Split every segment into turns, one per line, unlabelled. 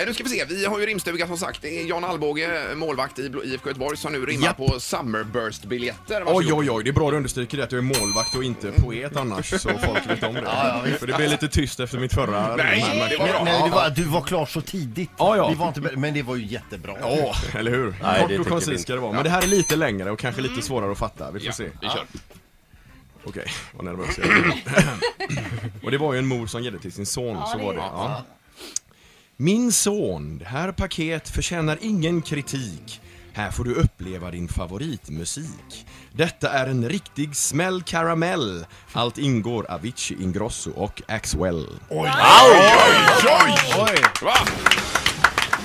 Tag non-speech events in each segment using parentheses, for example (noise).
Eh, Nu ska vi se, vi har ju rimstuga som sagt. Det är Jan Allbåge, målvakt i Blå- IFK Göteborg, som nu rimmar
Japp.
på Summerburst-biljetter.
Oj,
Varsågod.
oj, oj, det är bra du understryker det att jag är målvakt och inte poet annars, så folk vet om det. För det blev lite tyst efter mitt förra
Nej,
rim här, men-
det var
Men,
bra.
nej, det var, du var klar så tidigt.
Ja, ja.
Vi var inte, men det var ju jättebra.
Ja, eller hur?
Nej, det
Kort och
tycker vi
koncist
inte.
ska det vara. Men det här är lite längre och kanske lite svårare att fatta. Vi får
Ja,
se.
vi kör.
Okej, vad nervös jag är. Och det var ju en mor som ger det till sin son, så var det. Ja. Min son, det här paket förtjänar ingen kritik. Här får du uppleva din favoritmusik. Detta är en riktig smäll karamell. Allt ingår Avicii Ingrosso och Axwell.
Oj, oj! Va?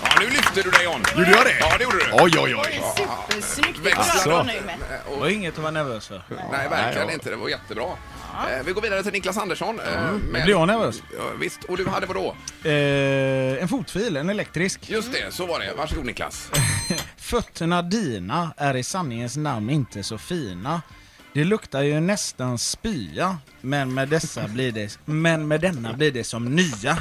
Ja, nu lyfte du dig Jan. Gjorde jag det? Ja, det gjorde du.
Oj, oj,
Oj, alltså. supersnyggt. Det
Växla.
klarar du nu med.
Det var inget att vara nervös för.
Nej, verkligen
ja.
inte. Det var jättebra. Eh, Vi går vidare till Niklas Andersson. eh,
Nu blir jag nervös.
Visst, och du hade vadå?
Eh, en fotfil, en elektrisk.
Just det, så var det. Varsågod Niklas.
Fötterna dina är i sanningens namn inte så fina. Det luktar ju nästan spya, men med, dessa blir det, men med denna blir det som (laughs) nya.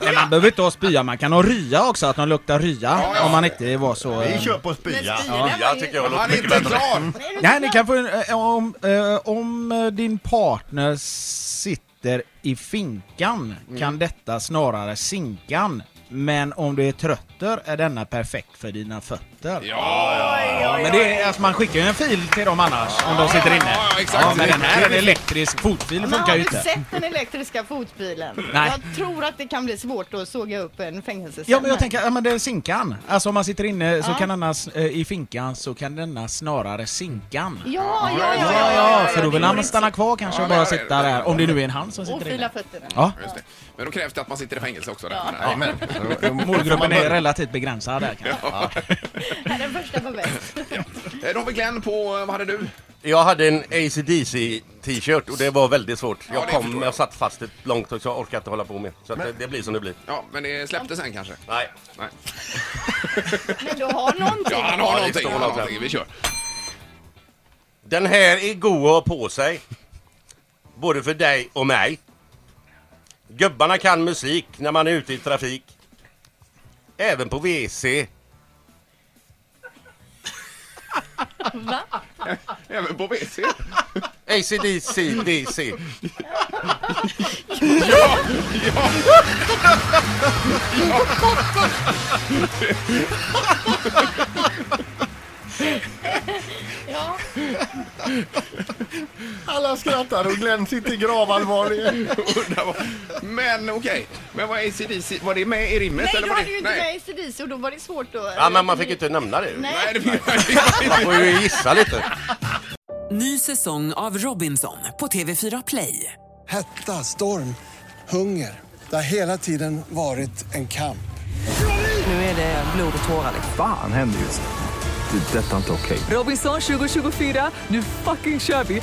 Men man behöver inte ha spya, man kan ha rya också, att de luktar rya, om man inte var så... eh,
Vi kör på spya.
Men
Ja.
stilen var
Jag
ju-
tycker jag
Han
låter
är
mycket
inte
bättre.
klar!
Nej, ni kan få en, eh, om, eh, om eh, din partner sitter i finkan kan detta snarare sinkan. Men om du är trötter är denna perfekt för dina fötter.
Ja,
Ja, men det är, alltså, man skickar ju en fil till dem annars om de sitter inne.
ja, exakt.
Ja, men den här, en elektrisk fotfil
Men
funkar
har
ju
du
inte.
sett den elektriska fotbilen?
Nej.
Jag tror att det kan bli svårt att såga upp en fängelsecell.
Ja men jag
här.
tänker, ja men det är sinkan. Alltså om man sitter inne så
Ja.
kan denna, s- eh, i finkan så kan denna snarare sinkan.
Ja, ja, ja, ja,
Ja, ja, för då vill
Det går
han
inte
stanna kvar kanske
Ja,
och
det
bara
här är-
sitta där. Om det nu är en han som
Och
sitter
fila
inne.
fötterna.
Ja.
Just det. Men då krävs det att man sitter i fängelse också. Där.
Ja.
Nej.
Ja, men-
Målgruppen är relativt begränsad där kanske.
Här är den första på väst.
Eh, Då har vi Glenn på, vad hade du?
Jag hade en AC/DC t-shirt och det var väldigt svårt.
det
Jag
förstår
kom,
jag.
jag satt fast ett långt tag så jag orkade inte hålla på med. Så att det, det blir som det blir.
Ja, men det släppte sen kanske.
Nej.
Nej.
Men du har någonting.
Ja, han
Ja,
har
det
någonting.
står
Han har
någonting.
någonting. Vi kör.
Den här är god att ha på sig. Både för dig och mig. Gubbarna kan musik när man är ute i trafik. Även på WC.
Även på WC.
ACDC, DC.
Ja.
Alla skrattar och Glenn sitter gravallvarlig.
Men okej, men vad är ACDC? Var det med i rimmet?
Nej,
eller
du
var
hade
det...
ju inte med ACDC och då var det svårt att...
Ja, men man fick ju typ- inte nämna det.
Nej.
Nej, det var inte.
Man får ju gissa lite.
Ny säsong av Robinson på TV4 Play.
Hetta, storm, hunger. Det har hela tiden varit en kamp.
Nu är det blod och tårar. liksom.
Fan händer just nu. Det. är Detta är inte okej.
Robinson 2024, nu fucking kör vi!